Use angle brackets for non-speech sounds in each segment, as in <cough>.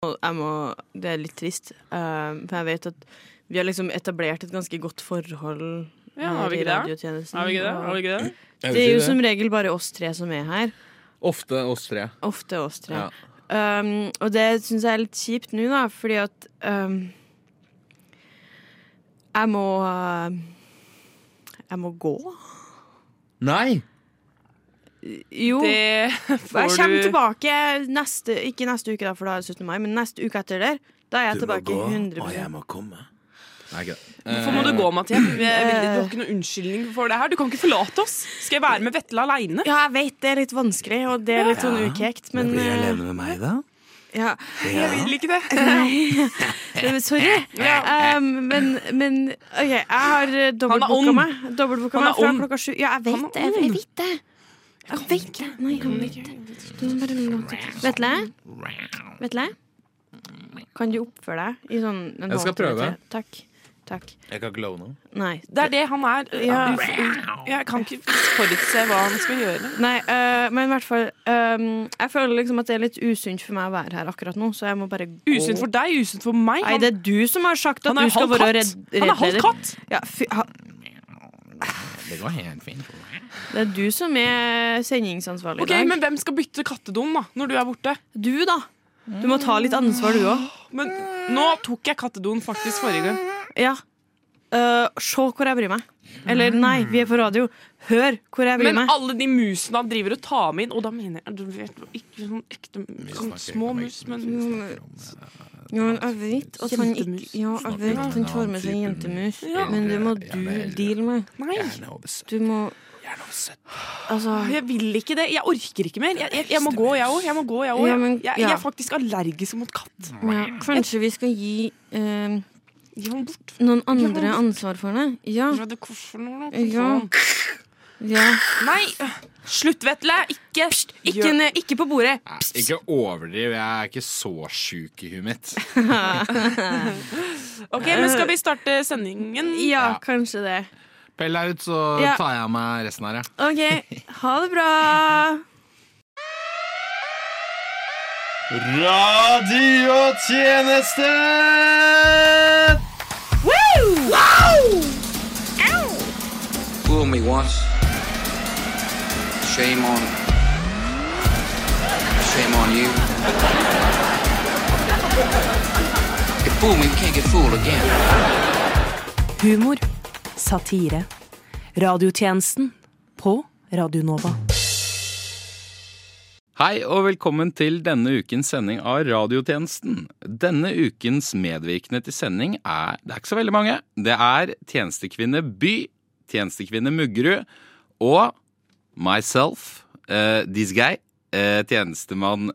Og Jeg må, det er litt trist, eh, for jeg vet at vi har liksom etablert et ganske godt forhold Ja, har her vi i ikke det? radiotjenesten. Har vi ikke det? Har vi ikke Og det? Det Jeg vil er jo si som regel bare oss tre som er her. Ofte oss tre. Ofte oss tre. Ja. Um, og det syns jeg er litt kjipt nå, da, fordi at um, Jeg må uh, Jeg må gå. Nei! Jo. Det jeg får kommer du tilbake neste Ikke neste uke, da, for da er det 17. mai, men neste uke etter der. Da er jeg tilbake 100 må komme. Nei, ikke det. Hvorfor må du gå, Mathias? Vi er veldig- Du har ikke noen unnskyldning for det her. Du kan ikke forlate oss. Skal jeg være med Vetle aleine? Ja, jeg vet det er litt vanskelig, og det er litt sånn ukekt, men uh, med meg, da? ja. Jeg vil ikke det. <laughs> Men Sorry. Um, men, men OK, jeg har eh, dobbeltbooka ond. meg. Dobbeltbooka Han er meg fra ond. klokka sju. Ja, jeg vet Han er det. Jeg, ond. jeg vet det. Jeg vet det. Nei, jeg kan ikke. Du må bare la det- Vetle? Vetle? Kan du oppføre deg i sånn en Jeg skal halvtime prøve. til? Takk. Takk. Jeg kan ikke love noe. Nei. Det er det han er. Ja. Jeg kan ikke forutse hva han skal gjøre. Nei, øh, men i hvert fall øhm, Jeg føler liksom at det er litt usunt for meg å være her akkurat nå, så jeg må bare gå. Usunt for deg, usunt for meg. Nei, Han, det er du som har sagt at han er du skal halv være katt. redd, Han er halv reddleder. katt. Ja, fy, ha, Det går helt fint. det er du som er sendingsansvarlig Ok, i dag. Men hvem skal bytte kattedom da, når du er borte? Du, da. Du må ta litt ansvar, du òg. Men nå tok jeg kattedoen faktisk forrige gang. Ja. Øh, se hvor jeg bryr meg. Eller nei, vi er på radio. Hør hvor jeg bryr Men meg. alle de musene han driver og tar med inn, og da mener jeg du vet, ikke sånn ekte sånn små mus, men liksom. eh, Jo, men jeg vet at han ikke Jentemus. Ja, jeg vet at han får med seg jentemus, Ja. men det må du deale med. Nei, Du må Altså jeg vil ikke det. Jeg orker ikke mer. Jeg, jeg, jeg må gå, jeg òg. Jeg, må gå, jeg, også. Ja, men- jeg, jeg, ja. er faktisk allergisk mot katt. Ja, kanskje vi skal gi eh, Gi ham bort. noen andre ansvar for det? Ja. Hva er det hvorfor noe? ja. ja. Nei! Slutt, Vetle! Ikke Ikke, gjør- ned, ikke på bordet! Ikke overdriv, jeg er ikke så sjuk i huet <laughs> mitt. Ok, men Skal vi starte sendingen? Ja, kanskje det. Pell deg ut, så Ja. tar jeg av meg resten her, jeg. OK, ha det bra! <laughs> Radiotjeneste! Fool me once. Shame on. Shame on you. Get fooled me, you can't get fooled again. Humor. Satire. Radiotjenesten på Radio Nova. Hei og velkommen til denne ukens sending av Radiotjenesten. Denne ukens medvirkende til sending er Det er ikke så veldig mange. Det er Tjenestekvinne By, Tjenestekvinne Muggerud og myself, eh, this guy, eh, tjenestemann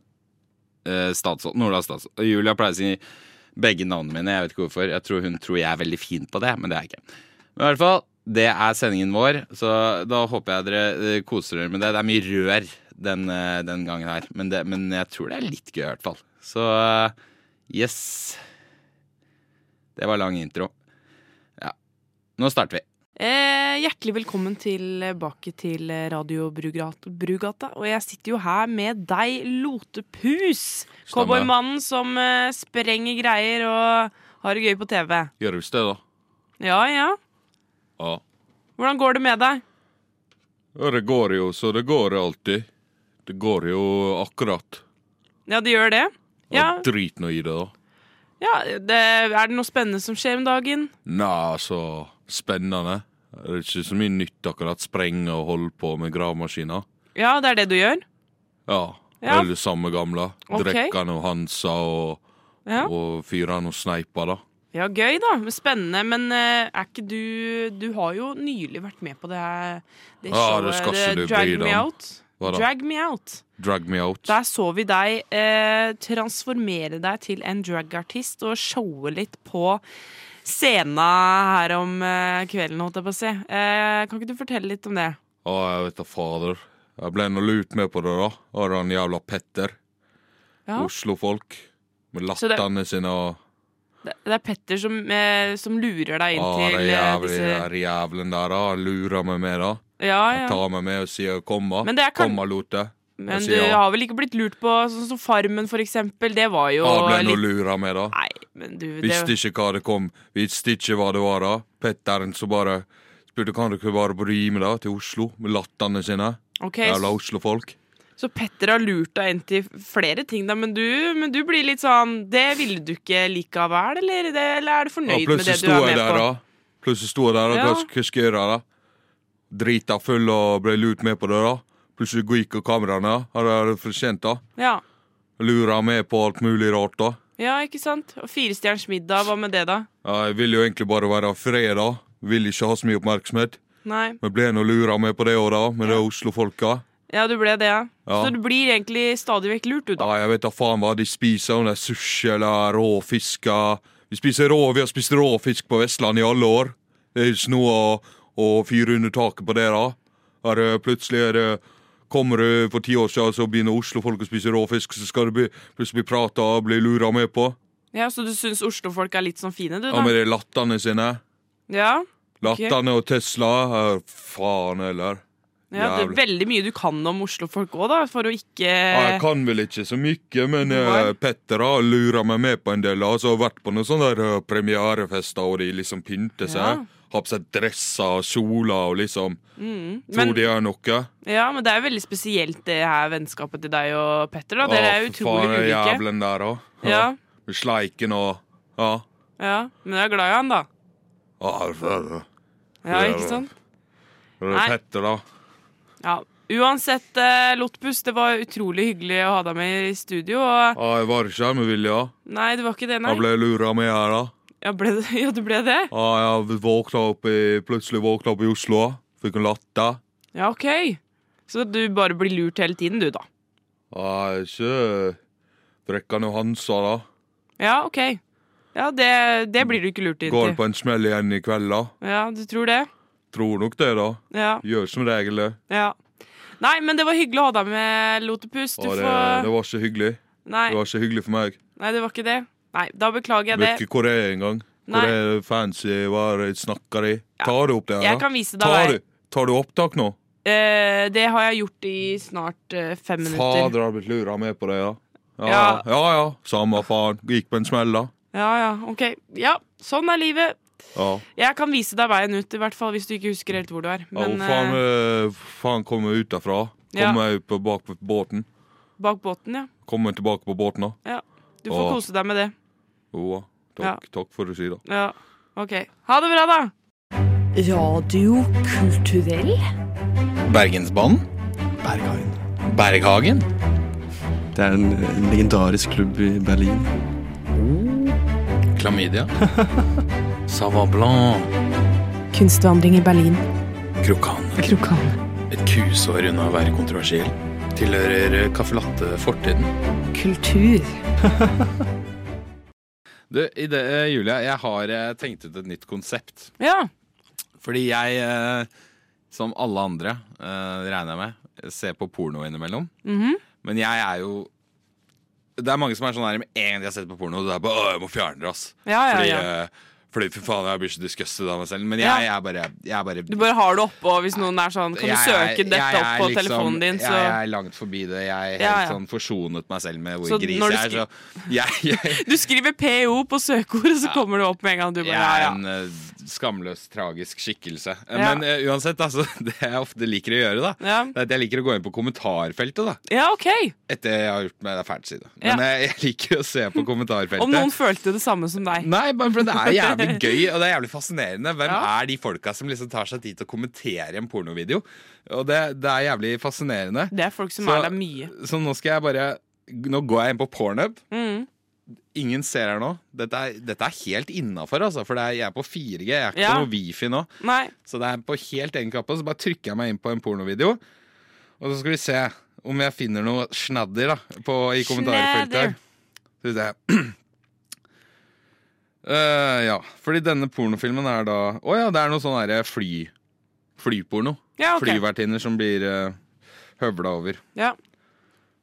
eh, statsråd, Nordahl statsråd. Og Julia pleier å si begge navnene mine. Jeg vet ikke hvorfor. Jeg tror hun tror jeg er veldig fin på det, men det er jeg ikke. Men i hvert fall, det er sendingen vår, så da håper jeg dere eh, koser dere med det. Det er mye rør den, eh, den gangen her, men, det, men jeg tror det er litt gøy i hvert fall. Så eh, yes. Det var lang intro. Ja. Nå starter vi. Eh, hjertelig velkommen tilbake til Radio Brugata, Brugata. Og jeg sitter jo her med deg, Lotepus. Stemmer. Cowboymannen som eh, sprenger greier og har det gøy på TV. Gjør du det, da? Ja, ja. Ja. Hvordan går det med deg? Ja, det går jo så det går alltid. Det går jo akkurat. Ja, det gjør det. Ja, Drit nå i det, da. ja det, Er det noe spennende som skjer om dagen? Nei, altså Spennende. Det er ikke så mye nytt akkurat. Sprenge og holde på med gravemaskiner. Ja, det er det du gjør? Ja. Ja. Det er det samme gamle. Ok. Drekkan og Hansa og, Ja, og fyrene og sneipa, da. ja gøy, da. men Spennende. Men eh, er ikke du Du har jo nylig vært med på det her det eh, Ja, det skal ikke du Drag bry deg Me om. Out. Hva da? Drag Me Out. Drag me out. Der så vi deg eh, transformere deg til en dragartist og showe litt på scenen her om eh, kvelden, holdt jeg på å si. Eh, kan ikke du fortelle litt om det? Å, jeg vet da fader. Jeg ble nå lurt med på det, da. Av den jævla Petter. Ja. Oslo-folk. Med Så det- latterne sine og Det, det er Petter som, eh, som lurer deg inn Å, til den eh, jævla disse den jævlen der, da. Han Lurer meg med, da. Ja, Han ja. tar meg med og sier 'komma'. Men det er kan- Komma, Lote. Men Jeg du sier ja. har vel ikke blitt lurt på sånn som Farmen, for eksempel. Det var jo Hva ble nå litt lura med, da? Nei, men du det, Visste ikke hva det kom. Visste ikke hva det var, da. Petteren som bare spurte kan dere bare bli med da til Oslo med lattene sine. Ok, Jævla Oslo-folk. Så Petter har lurt deg inn til flere ting, da, men du, men du blir litt sånn Det ville du ikke likevel, eller, det, eller er du Ja, fornøyd med det plutselig du sto er jeg med der, på? da. Plutselig sto jeg der, og Ja. hva hva skal jeg gjøre da? Drita full og ble lurt med på det, da. Plutselig gikk og kameraene, da. Hadde jeg fortjent, da. Ja. Lura med på alt mulig rart, da. ja, ikke sant? Og Firestjerners middag, hva med det, da? Ja, Jeg ville jo egentlig bare være fred, da. Ville ikke ha så mye oppmerksomhet. Nei. Men ble nå lura med på det òg, da, med det Oslo-folka. Ja, du ble det, ja. Ja. Så du blir egentlig stadig vekk lurt, du, da. Ja, jeg vet da faen hva de spiser, om det er sushi eller råfiska. Vi spiser rå, vi har spist råfisk på Vestlandet i alle år. Det er ikke noe å, å fyre under taket på det, da. Her, eh, plutselig er det Kommer du for ti år siden, så begynner Oslo-folk å spise råfisk, så skal du bli, plutselig bli prata og bli lura med på. Ja, Så du syns oslofolk er litt sånn fine, du, Ja, med da? de lattene sine. Ja, Lattene og Tesla. eh, Faen heller. ja det er Jævlig. Veldig mye du kan om oslofolk òg, da, for å ikke Ja, Ah, jeg kan vel ikke så mye, men Eh, Nei. eh, Petter har lura meg med på en del. Altså har vært på noen sånne der, eh, premierefester og de liksom pynter seg. Ja. Har på seg dresser og kjoler og liksom Mm. tror Men, de er noe. ja, men det er veldig spesielt, det her vennskapet til deg og Petter, da. Dere er Å, utrolig for Ah, faen, den ulike. jævlen der òg. Ja, Med sleiken og Ja. ja. Men jeg er glad i han, da. Ah, for- Ja, Ja, ikke da. sant? for Nei. Petter, da. Ja. Uansett, eh, Lotbus, det var utrolig hyggelig å ha deg med i studio. Og Ah, jeg var ikke her med vilje. nei, det var ikke det, nei. Jeg ble lura med her, da. Ja, ble det? <laughs> ja du ble det? Ah, jeg våkna opp i, plutselig våkna opp i Oslo. Fikk en latter. Ja, OK. Så du bare blir lurt hele tiden, du, da. Ah, ikke Brekkan Johansa, da. Ja, OK. Ja, det, det blir du ikke lurt inn Går til. på en smell igjen i kveld, da. Ja, du tror det? Tror nok det, da. Ja. Gjør som regel det. ja. Nei, men det var hyggelig å ha deg med, Lotepus. Du Og det, får det var ikke hyggelig. nei, Det var ikke hyggelig for meg. nei, det var ikke det. Nei, da beklager jeg det. Vet ikke hvor jeg er engang. Nei. Hvor er fancy, hva er det jeg snakker i? Tar du opp det Jeg her, da? kan vise deg Tar vei. du, tar du opptak nå? Eh, det har jeg gjort i snart eh, fem minutter. Fader, har blitt lura med på det, ja. Ja ja, Ja. ja, ja. samme faen. Gikk på en smell, da. Ja, ja, OK. Ja, sånn er livet. Ja. Jeg kan vise deg veien ut, i hvert fall hvis du ikke husker helt hvor du er. ja hvor Men faen, eh, eh, faen kom jeg ut derfra? Ja. Kom jeg på bak på båten? bak båten, ja. Kom jeg tilbake på båten, da? Du får Åh. kose deg med det. Jo, ja. Ja. takk, takk for det du sier, da. Ja, OK. Ha det bra, da. Radiokulturell? Bergensbanen. Berghagen. Berghagen. Det er en en legendarisk klubb i Berlin. <laughs> Klamydia. Savablan. Kunstvandring i Berlin. Krokan. Krokan. Et kusår unna å være kontroversiell. Tilhører caffè latte-fortiden. Kultur. Du, i det, eh, Julia, jeg har eh, tenkt ut et nytt konsept. Ja. Fordi jeg, eh, som alle andre, eh, regner jeg med, ser på porno innimellom. Mhm. Men jeg er jo Det er mange som er sånn her med en gang de har sett på porno, så er det bare Å, jeg må fjerne det, ass. Ja, ja, Fordi, ja. eh, fordi fy faen, jeg blir så disgusted av meg selv. Men jeg, Ja. jeg er bare, jeg er bare Du bare har det oppå hvis noen er sånn Kan du jeg er- søke dette jeg opp er på liksom- telefonen din, så Jeg er langt forbi det. Jeg er helt Ja, ja. sånn forsonet meg selv med hvor Så gris når du jeg er. Så jeg, jeg, Du skriver PO på søkeordet, så kommer det opp med en gang. Du bare, jeg ja, er ja. en eh, skamløs, tragisk skikkelse. Eh, Ja. Men eh, uansett, altså, <laughs> det jeg ofte liker å gjøre, da, Ja. det er at jeg liker å gå inn på kommentarfeltet. da ja, OK. Etter jeg har gjort meg det er fælt side. Ja. Men eh, jeg liker å se på kommentarfeltet. Om noen følte det samme som deg. <laughs> Nei, bare for det er jævlig <laughs> gøy og det er jævlig fascinerende. Hvem Ja. er de folka som liksom tar seg tid til å kommentere en pornovideo? Og det, det er jævlig fascinerende. Det er folk som Så- er der mye. Så nå skal jeg bare Nå går jeg inn på Pornhub. Mm. Ingen ser her nå. Dette er, dette er helt innafor, altså. For det er, jeg er på 4G. Jeg er ikke Ja. på noe wifi nå. Nei. Så det er på helt egen kappe. Så bare trykker jeg meg inn på en pornovideo. Og så skal vi se om jeg finner noe snadder da, på, i kommentarfeltet. Skal vi se. <clears throat> Eh, ja, fordi denne pornofilmen er da Å ja, det er noe sånn derre fly... Flyporno. Ja, ok. Flyvertinner som blir eh, høvla over. Ja.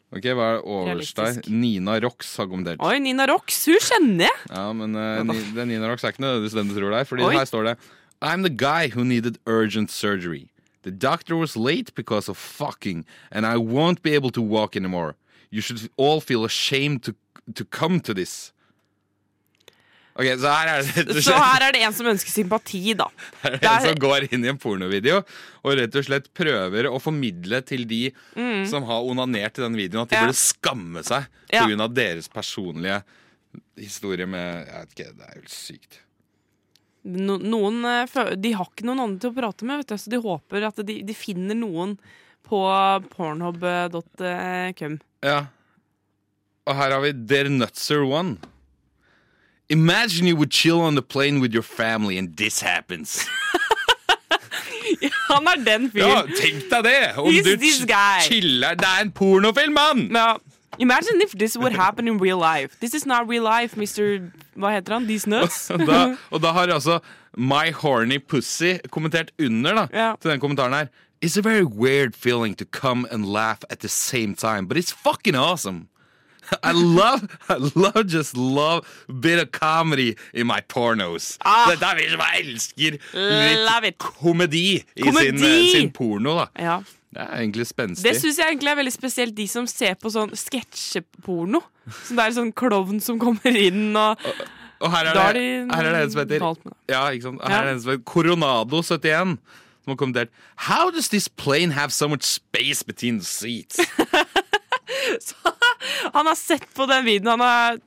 Ok, Hva er det overst der? Realistisk. Nina Rox har kommentert. Oi, Nina Rox, hun kjenner jeg! Ja, men eh, Ni- det Nina Rox er ikke nødvendigvis den du tror det er. Fordi Oi. her står det I'm the guy who needed urgent surgery. The doctor was late because of fucking, and I won't be able to walk anymore. You should all feel ashamed to, to come to this. Ok, så her er det rett og Så slett her er det en som ønsker sympati, da. her er det en der- som går inn i en pornovideo og rett og slett prøver å formidle til de som har onanert i den videoen, at Mm. de Ja. burde skamme seg Ja. pga. av deres personlige historie med Jeg vet ikke, det er jo helt sykt. No, noen, eh, fø- de har ikke noen andre til å prate med, vet du, så de håper at de, de finner noen på pornhub.com. Ja. Og her har vi Der Nutzer One. Imagine you would chill on the plane with your family and this happens. Han er den Ja, <laughs> fyren. tenk deg det! Om He's du this ch- guy. chiller Det er en pornofilm, mann! Ja. Imagine if this would happen in real life. This is not real life, Mr. Hva heter han? These nuts? <laughs> Da, og da har altså My Horny Pussy kommentert under da Ja. til den kommentaren her. It's a very weird feeling to come and laugh at the same time, but it's fucking awesome. I love, I love, just love a bit of comedy in my pornos. Dette er vi som elsker Ah. Love litt it. komedi i sin, Komedi! eh, sin porno, da. Ja. Det er egentlig spenstig. Det syns jeg egentlig er veldig spesielt, de som ser på sånn sketsjeporno. Så det er sånn klovn som kommer inn og Og her er, Da det, er de her er det en som heter galt med det. Ja, ikke sant? Her Ja. er det en som heter Coronado71 som har kommentert How does this plane have so much space between <laughs> the seats? Han har sett på den videoen. Han har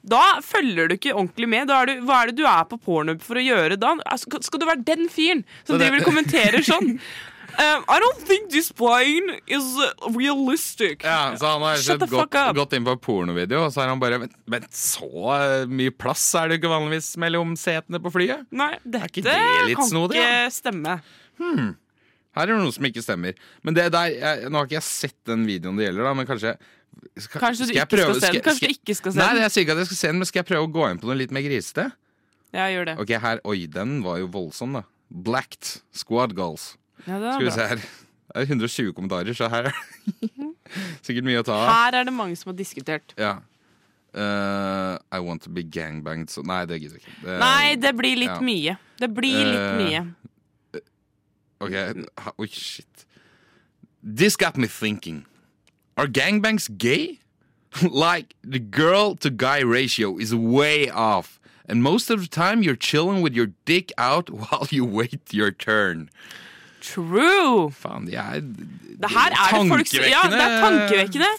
da følger du ikke ordentlig med. Da er du, hva er det du er på pornhub for å gjøre da? Altså, skal- skal du være den fyren som det- driver og kommenterer sånn? <laughs> Um, I don't think this plane is uh, realistic. Ja, så han har Shut sett the gått, fuck up. gått inn på en pornovideo, og så har han bare Men, men så eh, mye plass er det jo ikke vanligvis mellom setene på flyet? Nei, dette ikke det litt kan snodig, ikke stemme. Her er det noe som ikke stemmer. Men det der, jeg, Nå har ikke jeg sett den videoen det gjelder, da, men kanskje skal, Kanskje du ikke skal se den? Kanskje du ikke skal se Nei, den? jeg sier ikke at jeg skal se den, men skal jeg prøve å gå inn på noe litt mer grisete? Ja, gjør det. Ok, her, Oi, den var jo voldsom, da. Blacked Squad Girls. Ja, det Skal er vi se bra. her. Det er 120 kommentarer, så her er det <laughs> sikkert mye å ta av. Her er det mange som har diskutert. Ja. Eh, I want to be gangbanged so Nei, det gidder jeg ikke. Det- Nei, det blir litt Eh, ja. mye. Det blir litt Eh, mye. Ok, ha- oi, shit. This got me thinking. Are gangbangs gay? <laughs> like, the girl to guy ratio is way off. And most of the time, you're chilling with your dick out <laughs> while you wait your turn. True! Faen, de er Det her er det folk som Ja, det er tankevekkende.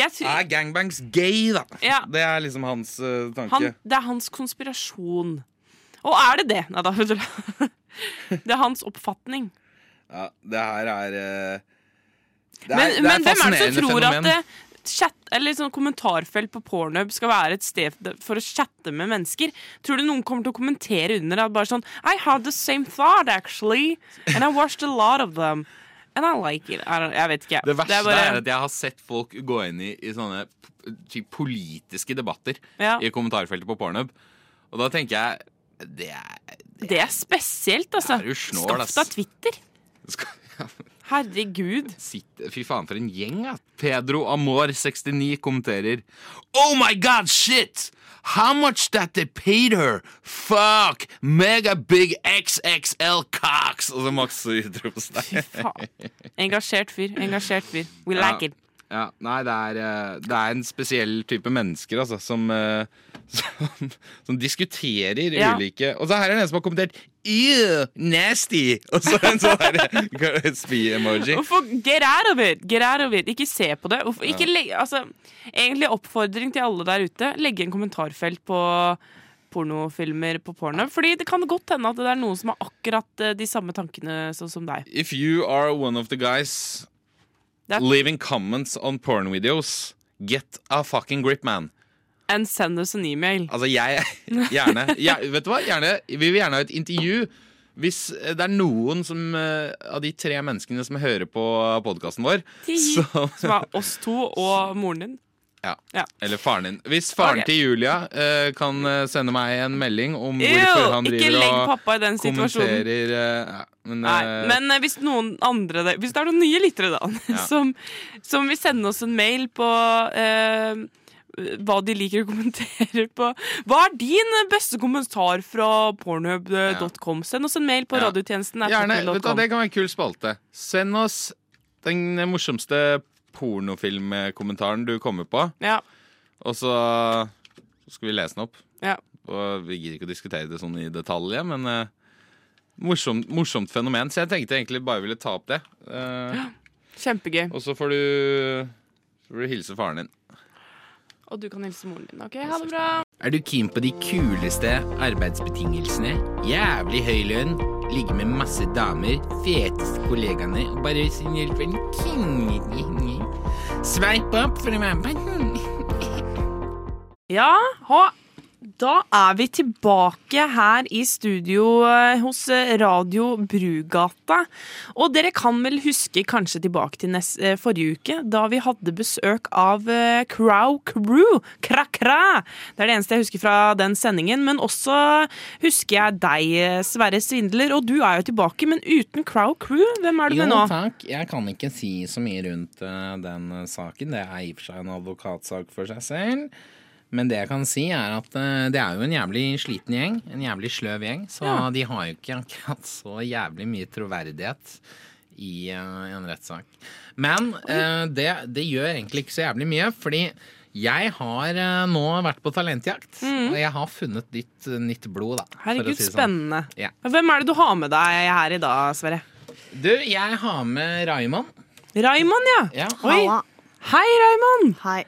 Jeg tror, Er gangbangs gay, da? Ja. Det er liksom hans eh, tanke. Han, det er hans konspirasjon. Og er det det? Nei da, vet du. <laughs> Det er hans oppfatning. Ja, det her er eh, det er, Men, det men er hvem er det som fascinerende tror fenomen. at eh, chat, eller sånn kommentarfelt på Pornhub skal være et sted for å chatte med mennesker? Tror du noen kommer til å kommentere under at bare sånn I had the same thought, actually. And I watched a lot of them. And I like it. I don't, jeg vet ikke. Det verste er er, bare- at jeg har sett folk gå inn i, i sånne p- typ politiske debatter Ja. i kommentarfeltet på Pornhub. Og da tenker jeg Det er <laughs> det er spesielt, altså. Det er jo snål, ass. Skaff deg Twitter. skal, ja, Herregud. sitt, Fy faen, for en gjeng, da. Pedro Amor69 kommenterer Oh my god, shit! How much that they paid her? Fuck! Mega big XXL cocks! Og så masse utropstegn. Faen. Engasjert fyr. Engasjert fyr. We Ja. like it. <laughs> Ja, nei, det er, eh, det er en spesiell type mennesker altså, som, eh, <laughs> som, som diskuterer Ja. ulike Og så her er det en som har kommentert Ew, nasty! Og så en sånn der <laughs> spy-emoji. <laughs> Hvorfor, get out of it! Get out of it. Ikke se på det. Hvorfor, ikke legge, altså, egentlig oppfordring til alle der ute. Legge en kommentarfelt på pornofilmer på porno. Fordi det kan godt hende at det er noen som har akkurat eh, de samme tankene sånn som deg. If you are one of the guys Det er- leaving comments on porn videos, get a fucking grip, man. And send us an email. Altså, <laughs> jeg Gjerne. Jeg, vet du hva? Gjerne, vi vil gjerne ha et intervju. Hvis eh, det er noen som, eh, av de tre menneskene som hører på podkasten vår, som Som er oss to og moren din. Ja. Ja. Eller faren din. Hvis faren Ok. til Julia eh, kan eh, sende meg en melding om hvorfor Ew, han ikke driver legg og pappa i den situasjonen. kommenterer eh, ja, men, Nei, eh, men eh, hvis noen andre der- <laughs> Hvis det er noen nye lyttere da som, som vil sende oss en mail på eh, eh, hva de liker å kommentere på. Hva er din beste kommentar fra pornhub.com? Send oss en mail på Ja. radiotjenesten. at Gjerne, pornhub.com. vet du, hva, Det kan være en kul spalte. Send oss den morsomste pornofilmkommentaren du kommer på, Ja, og så så skal vi lese den opp. ja. Og Vi gidder ikke å diskutere det sånn i detalj, ja, men eh, morsomt, morsomt fenomen. Så jeg tenkte egentlig bare ville ta opp det. Eh, Kjempegøy. og så får du, så får du hilse faren din. Og du kan hilse moren din. Ok, ha det bra. Er du keen på de kuleste arbeidsbetingelsene? Jævlig høy lønn, ligge med masse damer, feteste kollegaene og bare sin hjelp en king. Sveip opp for å være med. Ja, og da er vi tilbake her i studio eh, hos eh, Radio Brugata. Og dere kan vel huske kanskje tilbake til nes- eh, forrige uke, da vi hadde besøk av eh, Crow Crew. Kra-kra! Det er det eneste jeg husker fra den sendingen. Men også husker jeg deg, eh, Sverre Svindler. Og du er jo tilbake, men uten Crow Crew. Hvem er du Jo med nå? takk, jeg kan ikke si så mye rundt eh, den eh, saken. Det er i og for seg en advokatsak for seg selv. Men det jeg kan si er at eh, det er jo en jævlig sliten gjeng, en jævlig sløv gjeng. Så Ja. de har jo ikke akkurat så jævlig mye troverdighet i eh, en rettssak. Men eh, det, det gjør egentlig ikke så jævlig mye, fordi jeg har eh, nå vært på talentjakt. Og jeg har funnet ditt, nytt blod, da. Mm. for å Herregud, si det sånn. spennende. Ja. Hvem er det du har med deg her i dag, Sverre? Du, jeg har med Raymond. Raymond, ja. Ja. Oi. Hei, Raymond! Hei.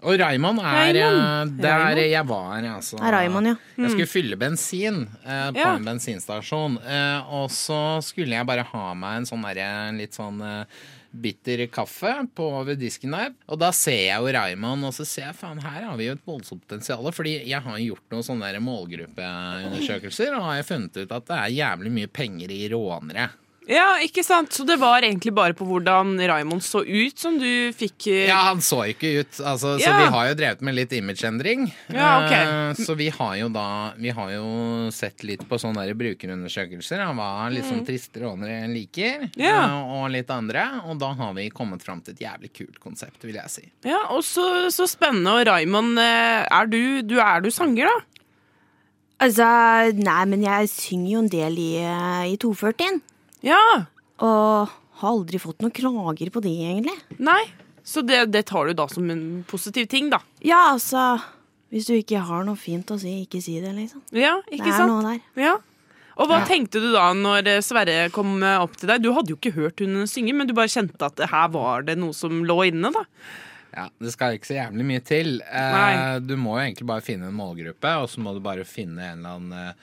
Og Raymond er Raymond. eh, der Raymond. jeg var, altså. Det er Raymond, ja. Jeg skulle fylle bensin eh, på Ja. en bensinstasjon. eh, og så skulle jeg bare ha meg en sånn derre en litt sånn eh, bitter kaffe på over disken der. Og da ser jeg jo Raymond, og så ser jeg faen, her har vi jo et voldsomt potensial. Fordi jeg har jo gjort noen sånne der målgruppeundersøkelser, og har jo funnet ut at det er jævlig mye penger i rånere. Ja, ikke sant? Så det var egentlig bare på hvordan Raymond så ut som du fikk eh, Ja, han så ikke ut. Altså, Så Ja. vi har jo drevet med litt imageendring. Ja, ok. Eh, Så vi har jo da Vi har jo sett litt på sånne der brukerundersøkelser av hva liksom triste rånere liker, Mm. Ja. eh, og litt andre. Og da har vi kommet fram til et jævlig kult konsept, vil jeg si. Ja, og så, så spennende. Og Raymond, eh, er du, du, er du sanger, da? Altså, nei, men jeg synger jo en del i, eh, i 240-en. Ja. Og har aldri fått noen klager på det, egentlig. Nei. Så det, det tar du da som en positiv ting, da. Ja, altså Hvis du ikke har noe fint å si, ikke si det, liksom. Ja, Det ikke er sant? noe der. Ja. Og hva tenkte du da når eh, Sverre kom eh, opp til deg? Du hadde jo ikke hørt hun synge, men du bare kjente at eh, her var det noe som lå inne, da. Ja, Det skal ikke så jævlig mye til. Eh, Nei. du må jo egentlig bare finne en målgruppe, og så må du bare finne en eller annen eh,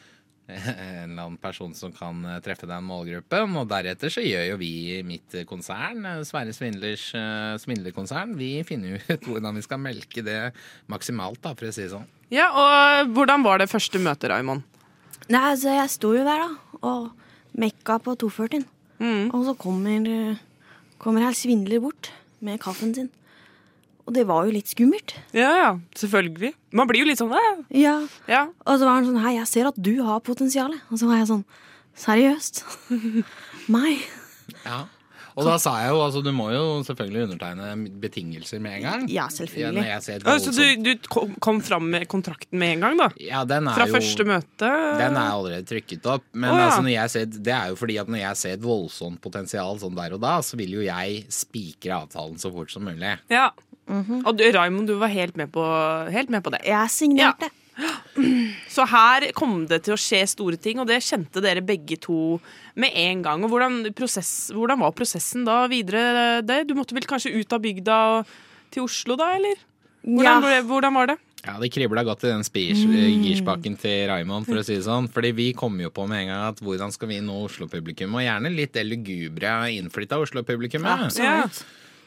<laughs> en eller annen person som kan eh, treffe den målgruppen. Og deretter så gjør jo vi i mitt konsern, eh, Sverre Svindlers eh, svindlerkonsern, vi finner jo ut hvordan vi skal melke det maksimalt, da, for å si det sånn. Ja, Og hvordan var det første møtet, Raymond? Nei, altså, jeg sto jo der, da, og mekka på 240-en. Og så kommer, eh, kommer her svindler bort med kaffen sin. Og det var jo litt skummelt. Ja, ja, selvfølgelig. Man blir jo litt sånn eh, Ja. Ja. Og så var han sånn Hei, jeg ser at du har potensial. Og så var jeg sånn Seriøst? <laughs> Meg? Ja. Og da sa jeg jo altså du må jo selvfølgelig undertegne betingelser med en gang. Ja, Ja, når selvfølgelig. jeg ser et Ja, Så du, voldsomt- du kom- kom fram med kontrakten med en gang, da? ja, den er Fra jo, første møte? Den er allerede trykket opp. Men Å, ja. altså, når jeg ser, det er jo fordi at når jeg ser et voldsomt potensial sånn der og da, så vil jo jeg spikre avtalen så fort som mulig. Ja. Og du, Raymond, du var helt med, på, Mhm. helt med på det. Jeg signerte. <gasps> Så her kom det til å skje store ting, og det kjente dere begge to med en gang. Og hvordan, prosess, hvordan var prosessen da videre? det? Du måtte vel kanskje ut av bygda og til Oslo, da, eller? Hvordan, ble- hvordan var det? Ja, det kribla godt i den spis- Mm. girspaken til Raymond, for å si det sånn. Fordi vi kom jo på med en gang at hvordan skal vi nå Oslo-publikum? Og gjerne litt det lugubre innflytta Oslo-publikummet. Ja.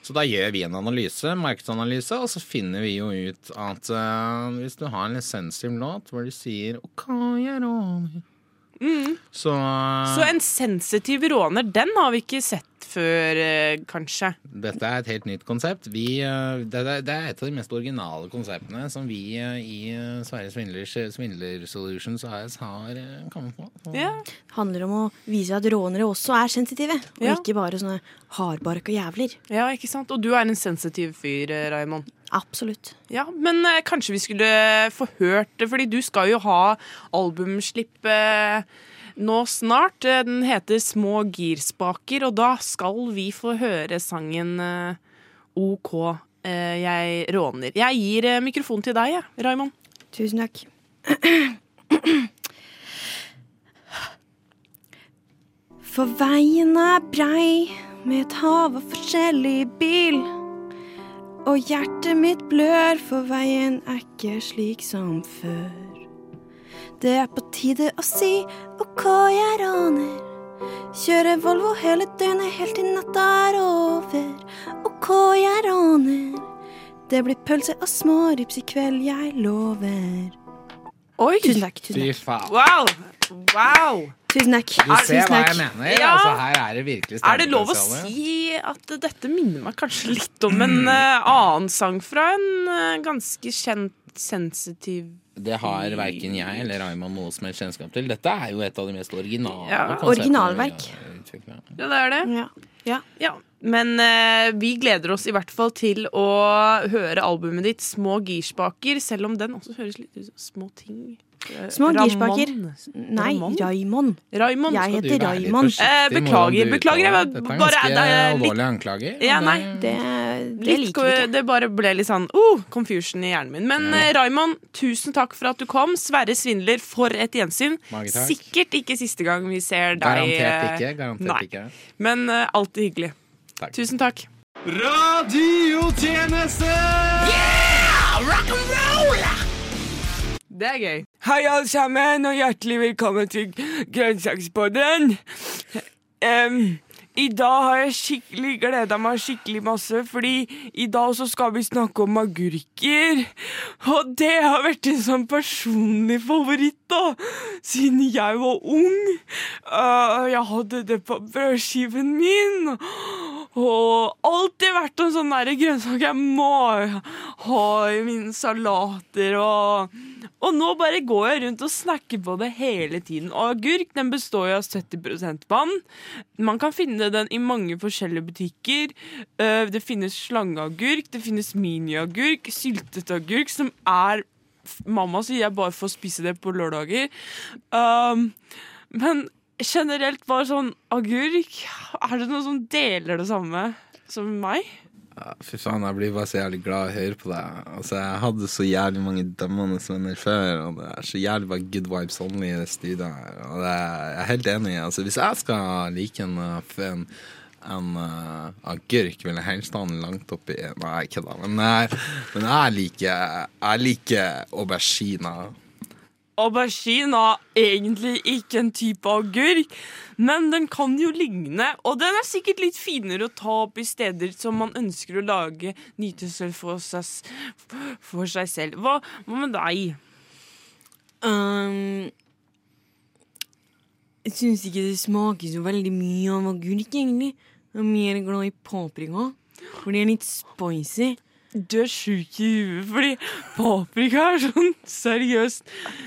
Så da gjør vi en analyse, markedsanalyse, og så finner vi jo ut at eh, hvis du har en litt sensitiv låt hvor du sier OK, jeg råder, så Mm. eh, Så en sensitiv råner, den har vi ikke sett før, eh, kanskje. Dette er et helt nytt konsept. Vi, eh, det, det, det er et av de mest originale konseptene som vi eh, i eh, Sverige Svindlers, Svindler Solutions AS har eh, kommet på. Så- Ja. handler om å vise at rånere også er sensitive, og Ja. ikke bare sånne hardbarka jævler. ja, ikke sant? Og du er en sensitiv fyr, eh, Raymond. Absolutt. Ja, men eh, kanskje vi skulle få hørt det, fordi du skal jo ha albumslipp eh, nå snart. Eh, Den heter Små girspaker, og da skal vi få høre sangen eh, OK, eh, jeg råner. Jeg gir eh, mikrofonen til deg, jeg, Raymond. Tusen takk. For veien er brei med et hav av forskjellig bil. Og hjertet mitt blør, for veien er ikke slik som før. Det er på tide å si OK, jeg råner. Kjøre Volvo hele døgnet helt til natta er over. OK, jeg råner. Det blir pølse og smårips i kveld, jeg lover. Oi! Tusen takk. Tusen Fy takk. faen. Wow! Wow! Tusen takk. Du ser Tusen hva jeg takk. mener. Ja. Altså, her er det virkelig Er det lov å stemmepotensial. si at dette minner meg kanskje litt om en eh, annen sang fra en eh, ganske kjent sensitiv Det har verken jeg eller Raymond noe som helst kjennskap til. Dette er jo et av de mest originale Ja, konseptene vi har originalverk. utviklet. Ja, det er det. Ja. ja. Ja, men eh, vi gleder oss i hvert fall til å høre albumet ditt Små girspaker, selv om den også høres litt ut som små ting. Eh, Små Ramon. girspaker. Nei, Raymond? Raymond. Raymond. Jeg Skal du heter være litt Raymond. forsiktig Eh, med hvordan beklager, du beklager, jeg uttaler var det? Dette er bare- ganske det er litt- alvorlige anklager. Ja, og nei, Det, det Litt, liker vi ikke. det bare ble litt sånn oh, confusion i hjernen min. Men eh, Raymond, tusen takk for at du kom. Sverre Svindler, for et gjensyn. Mange takk. Sikkert ikke siste gang vi ser deg. Garantert eh, ikke. Garantert nei. ikke. Men eh, alltid hyggelig. Takk. Tusen takk. Det er gøy. Hei, alle sammen, og hjertelig velkommen til Grønnsakspodden. Em, I dag har jeg skikkelig gleda meg skikkelig masse, fordi i dag så skal vi snakke om agurker. Og det har vært en sånn personlig favoritt, da, siden jeg var ung. Eh, jeg hadde det på brødskiven min. Og alltid vært en sånn der grønnsak jeg må ha i mine salater. Og, og nå bare går jeg rundt og snakker på det hele tiden. Og agurk den består jo av 70 vann. Man kan finne den i mange forskjellige butikker. Eh, Det finnes slangeagurk, det finnes miniagurk, syltet agurk, som er f- Mamma sier jeg bare får spise det på lørdager. Um, men generelt bare sånn agurk Er det noen som deler det samme som meg? Ja, Fy faen, jeg blir bare så jævlig glad av å høre på deg. Altså, Jeg hadde så jævlig mange dømmende venner før, og det er så jævlig bare good vibes only i det studioet her. Og det er, jeg er helt enig. altså Hvis jeg skal like en, uh, f- en, en uh, agurk, vil jeg helst ha den langt oppi Nei, kødda. Men, jeg- men jeg liker Jeg liker auberginer. Aubergine er egentlig ikke en type agurk, men den kan jo ligne. Og den er sikkert litt finere å ta opp i steder som man ønsker å lage nytelse for seg, s- for seg selv. Hva, hva med deg? Um, jeg syns ikke det smaker så veldig mye av agurk, egentlig. Jeg er mer glad i paprika, for det er litt spicy. Du er sjuk i huet, fordi paprika er sånn seriøst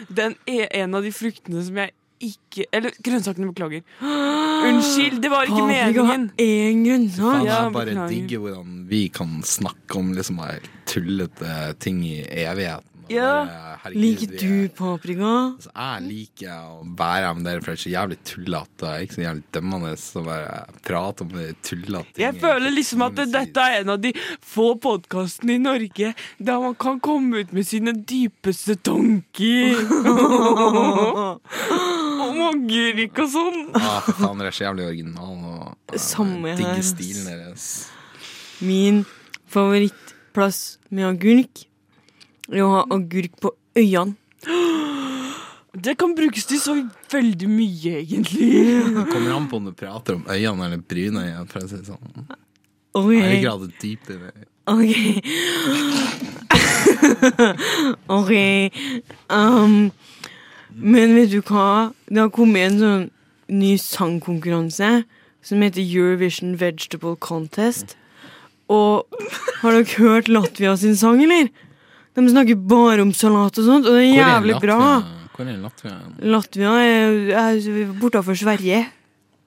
Den er en av de fruktene som jeg ikke Eller grønnsakene, beklager. Unnskyld, det var ikke Paprika meningen. er en Faen, grønnsak. Ja, jeg bare beklager. digger hvordan vi kan snakke om liksom bare tullete ting i evigheten. og Ja. bare, herregud, Liker vi du er- paprika? Altså, jeg liker å være med dere, for det er så jævlig tullete. Jeg er ikke så jævlig dømmende å bare prate om det tullete. ting. Jeg føler liksom at det, dette er en av de få podkastene i Norge der man kan komme ut med sine dypeste <laughs> tanker. Om agurk og sånn. Ja, for Ah, faen, dere er så jævlig originale <laughs> og Samme her, jeg digger ass. stilen deres. Min favorittplass med agurk er å ha agurk på øynene. Det kan brukes til så veldig mye, egentlig. Det kommer an på om du prater om øynene eller brynøyene, for å si det sånn. Jeg er i Ok, grad dypt i det. ok. ok. Um, men vet du hva? Det har kommet en sånn ny sangkonkurranse som heter Eurovision Vegetable Contest. Og har dere hørt Latvia sin sang, eller? De snakker bare om salat og sånt, og det er jævlig bra. Hvor er Latvia? Latvia er, er bortafor Sverige.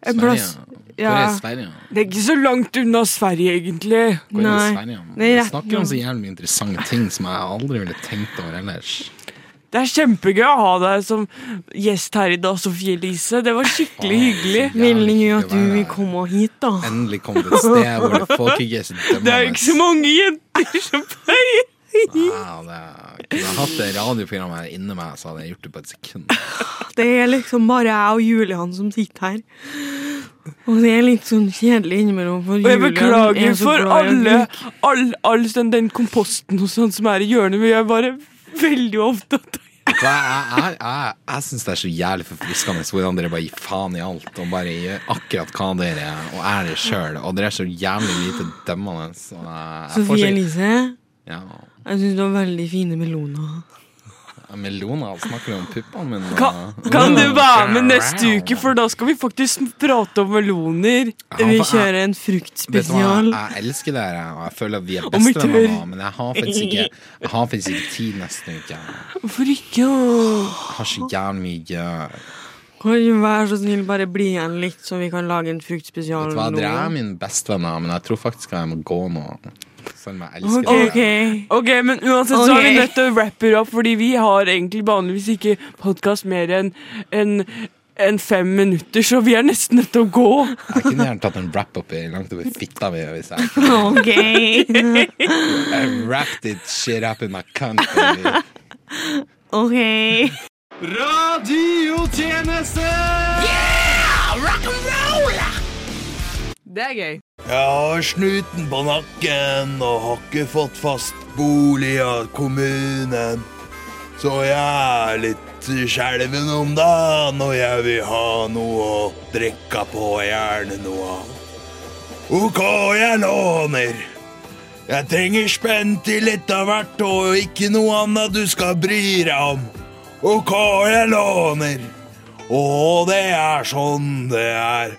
En plass. Ja. Hvor Ja. er Sverige? Det er ikke så langt unna Sverige, egentlig. Hvor er Nei. Sverige? Det er Jeg rett snakker om nå. så jævlig mye interessante ting som jeg aldri ville tenkt over ellers. Det er kjempegøy å ha deg som gjest her i dag, Sofie Elise. Det var skikkelig hyggelig. Veldig gøy at Jævlig du hyggelig å være her. kom hit, da. Endelig kom det et sted hvor det folk ikke er så <laughs> dømmende. Det er jo ikke så mange jenter som pleier. Wow, det kunne jeg hatt det radioprogrammet her inni meg, så hadde jeg gjort det på et sekund. Det er liksom bare jeg og Julian som sitter her. Og det er litt sånn kjedelig innimellom. For Og jeg Julian er beklager så for glad i å alle, drikke. all, all den, den komposten og sånn som er i hjørnet, men jeg er bare veldig opptatt av For Jeg, jeg, jeg, jeg syns det er så jævlig forfriskende hvordan dere bare gir faen i alt og bare gjør akkurat hva dere er, og er dere sjøl. Og dere er så jævlig lite dømmende. Så jeg, jeg får Sofie ikke Elise, ja, jeg syns du har veldig fine meloner. Melona snakker om puppene mine. og- Kan, kan du være med neste uke, for da skal vi faktisk prate om meloner. Ja, Vi for jeg- kjører en Vet du hva, fruktspesial. jeg elsker dere, og jeg føler at vi er Om vi tør. bestevenner nå, men jeg har faktisk ikke Jeg har faktisk ikke tid neste uke. Jeg Hvorfor ikke? da? har så jævlig mye å gjøre. Kan du være så snill bare bli igjen litt, så vi kan lage en fruktspesial? Vet du hva, noen dere er gang? mine bestevenner, men jeg tror faktisk at jeg må gå nå. Selv om jeg elsker Ok, dere. ok. Ok, men uansett så er vi Ok. nødt til å wrappe opp, fordi vi har egentlig vanligvis ikke podkast mer enn enn- enn fem minutter, så vi er nesten nødt til å gå. Jeg kunne gjerne tatt en wrap-up i langt over fitta mi hvis jeg Ok. I wrapped it shit up in my cunt, baby. <laughs> Ok. Det er gøy. Jeg har snuten på nakken og har ikke fått fast bolig av kommunen. Så jeg er litt skjelven om dagen, og jeg vil ha noe å drikke på, gjerne noe av. OK, jeg låner. Jeg trenger spenn til litt av hvert og ikke noe annet du skal bry deg om. OK, jeg låner. Og det er sånn det er.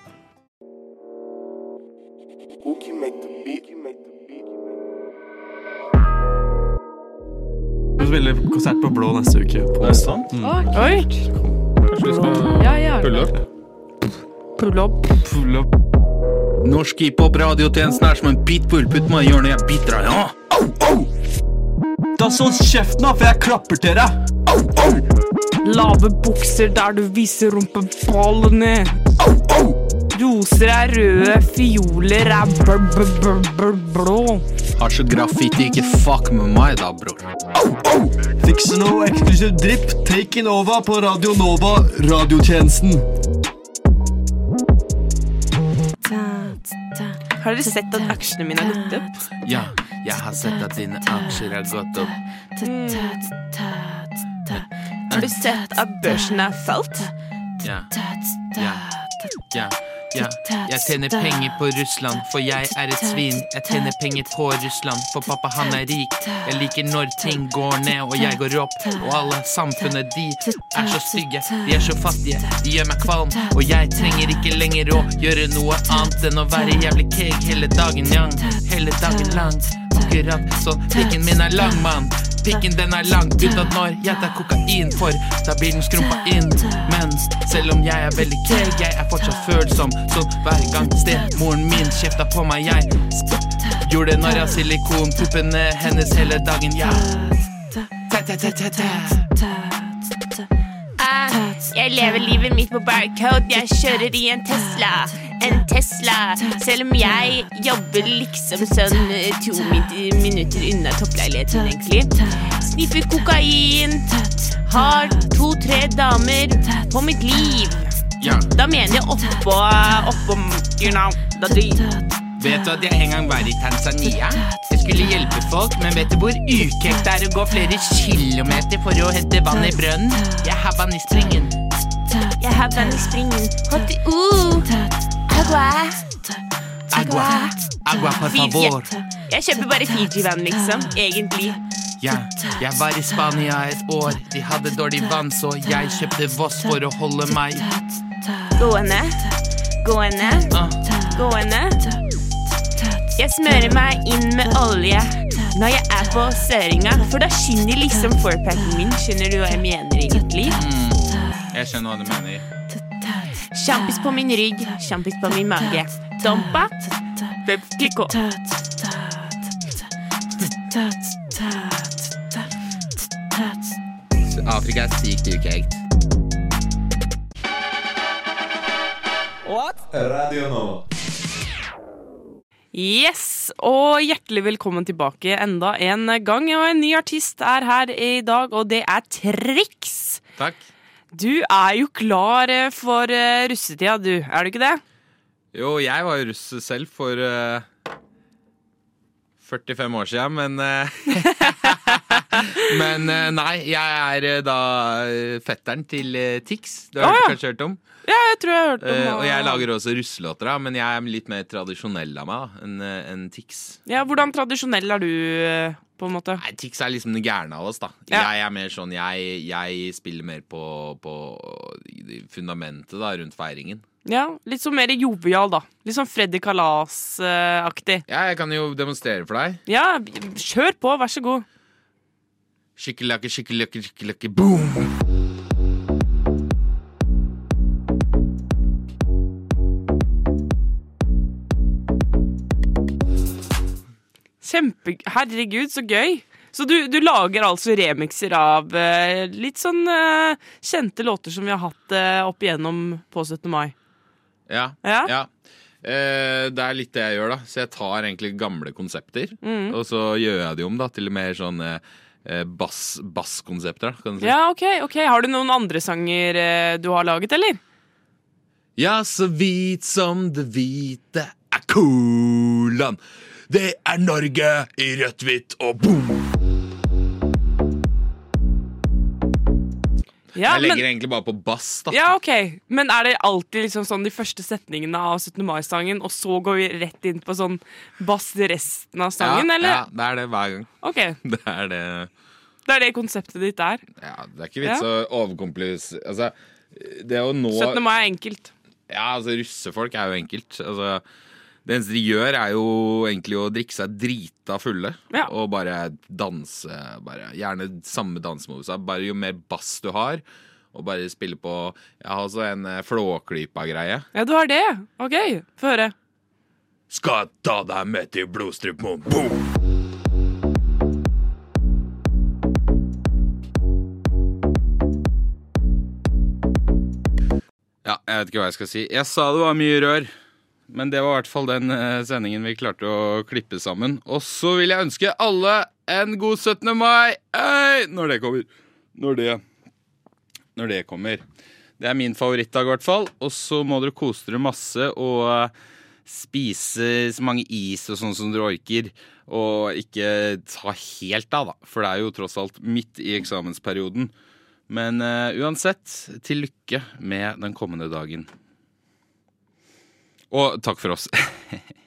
Vi spiller konsert på Blå neste uke. På onsdag. Mm. Oi. Ja, ja. Pull up. Norsk hiphop-radiotjenesten er som en pitbull. Putt meg i hjørnet, jeg biter deg. Ja. Da sånn kjeften, da, for jeg klapper til deg! Lave bukser der du viser rumpeballene. Roser er røde, fioler er bl bl bl bl blå. Har så graffiti, ikke fuck med meg da, bror. Fikse noe eksklusiv dripp. Take in over på Radio Nova, radiotjenesten. Har dere sett at aksjene mine har gått opp? Ja, jeg har sett at dine aksjer har gått opp. Har du sett at børsen har falt? Ja, ja, ja, ja. Jeg tjener penger på Russland, for jeg er et svin. Jeg tjener penger på Russland, for pappa han er rik. Jeg liker når ting går ned og jeg går opp. Og alle samfunnet de er så stygge, de er så fattige, de gjør meg kvalm. Og jeg trenger ikke lenger å gjøre noe annet enn å være jævlig keeg hele dagen lang. Hele dagen lang. Akkurat sånn. Pikken min er lang, mann. Pikken den er lang, unntatt når jeg tar kokain, for da blir den skrumpa inn. Men selv om jeg er veldig keeg, jeg er fortsatt følsom. Sånn hver gang stemoren min kjefta på meg, jeg gjorde det når jeg har silikonpuppene hennes hele dagen, ja. Ta-ta-ta-ta-ta. Jeg lever livet mitt på barcode. Jeg kjører i en Tesla. En Tesla. Selv om jeg jobber liksom sånn eh, to min- minutter unna toppleiligheten, egentlig. Sniffer kokain. Har to-tre damer på mitt liv. Ja. Da mener jeg oppå oppå you know, da du- Vet du at jeg en gang var i Tanzania? Jeg skulle hjelpe folk, men vet du hvor ukekt det er å gå flere kilometer for å hente vann i brønnen? Jeg har vann i springen. Jeg har vann i springen. Hot uh. ooh. Agua. Agua. Agua, por favor. Jeg kjøper bare Fiji-vann, liksom. Egentlig. Ja, jeg var i Spania et år. De hadde dårlig vann, så jeg kjøpte Voss for å holde meg Gående. gående, gående. Jeg smører meg inn med olje når jeg er på søringa, for da skinner liksom fourpacken min. Skjønner du hva jeg mener, egentlig? Mm. Jeg skjønner hva du mener. Sjampis på min rygg, sjampis på min mage. Dompa. Klikko. Afrika er sykt ukekt. Radio Nova. Yes, og hjertelig velkommen tilbake enda en gang. Og en ny artist er her i dag, og det er Triks. Takk. Du er jo klar eh, for eh, russetida, du. Er du ikke det? Jo, jeg var russ selv for eh, 45 år siden, men eh, <laughs> Men eh, nei, jeg er eh, da eh, fetteren til eh, Tix. Det Å, har du ja. kanskje hørt om? Ja, jeg tror jeg har hørt om Eh, og jeg han. lager også russelåter, da, men jeg er litt mer tradisjonell av meg da, enn eh, enn Tix. Ja, Hvordan tradisjonell er du, eh, på en måte? Nei, Tix er liksom den gærne av oss, da. Ja. Jeg er mer sånn, jeg, jeg spiller mer på, på fundamentet da, rundt feiringen. Ja, Litt sånn mer jovial, da. Litt sånn Freddy Kalas-aktig. Ja, jeg kan jo demonstrere for deg. Ja, kjør på, vær så god. Skikkelakke, skikkelakke, skikkelakke, boom! Kjempe... Herregud, så gøy. Så du, du lager altså remixer av eh, litt sånn eh, kjente låter som vi har hatt eh, opp igjennom på 17. mai. Ja. Ja? Eh, det er litt det jeg gjør, da. Så jeg tar egentlig gamle konsepter, Mhm. og så gjør jeg de om da, til mer sånn eh, bass- basskonsepter, da, kan du si. Ja, ok, ok. Har du noen andre sanger eh, du har laget, eller? Ja, så hvit som det hvite er kolan. Det er Norge i rødt, hvitt og boom! Ja, jeg legger men- egentlig bare på bass, da. Ja, ok. Men er det alltid liksom sånn de første setningene av 17. mai-sangen, og så går vi rett inn på sånn bass i resten av sangen, ja, eller? Ja, det er det hver gang. Ok, Det er det det er det konseptet ditt er. Ja, det er ikke vits å overkomplis... Altså, det å nå 17. mai er enkelt. Ja, altså russefolk er jo enkelt. Altså, det eneste de gjør, er jo egentlig å drikke seg drita fulle. Ja. Og bare danse. Bare, gjerne samme dansemoveset. Bare jo mer bass du har, og bare spille på Jeg har også en eh, flåklypa-greie. Ja, du har det. Ok, få høre. Skal ta deg med til blodstrupmoen. Boom! Ja, jeg vet ikke hva jeg skal si. Jeg sa det var mye rør. Men det var i hvert fall den eh, sendingen vi klarte å klippe sammen. Og så vil jeg ønske alle en god 17. mai Øy! når det kommer. Når det, når det kommer. Det er min favorittdag i hvert fall. Og så må dere kose dere masse og eh, spise så mange is og sånn som dere orker. Og ikke ta helt av, da. For det er jo tross alt midt i eksamensperioden. Men eh, uansett, til lykke med den kommende dagen. Og takk for oss. <laughs>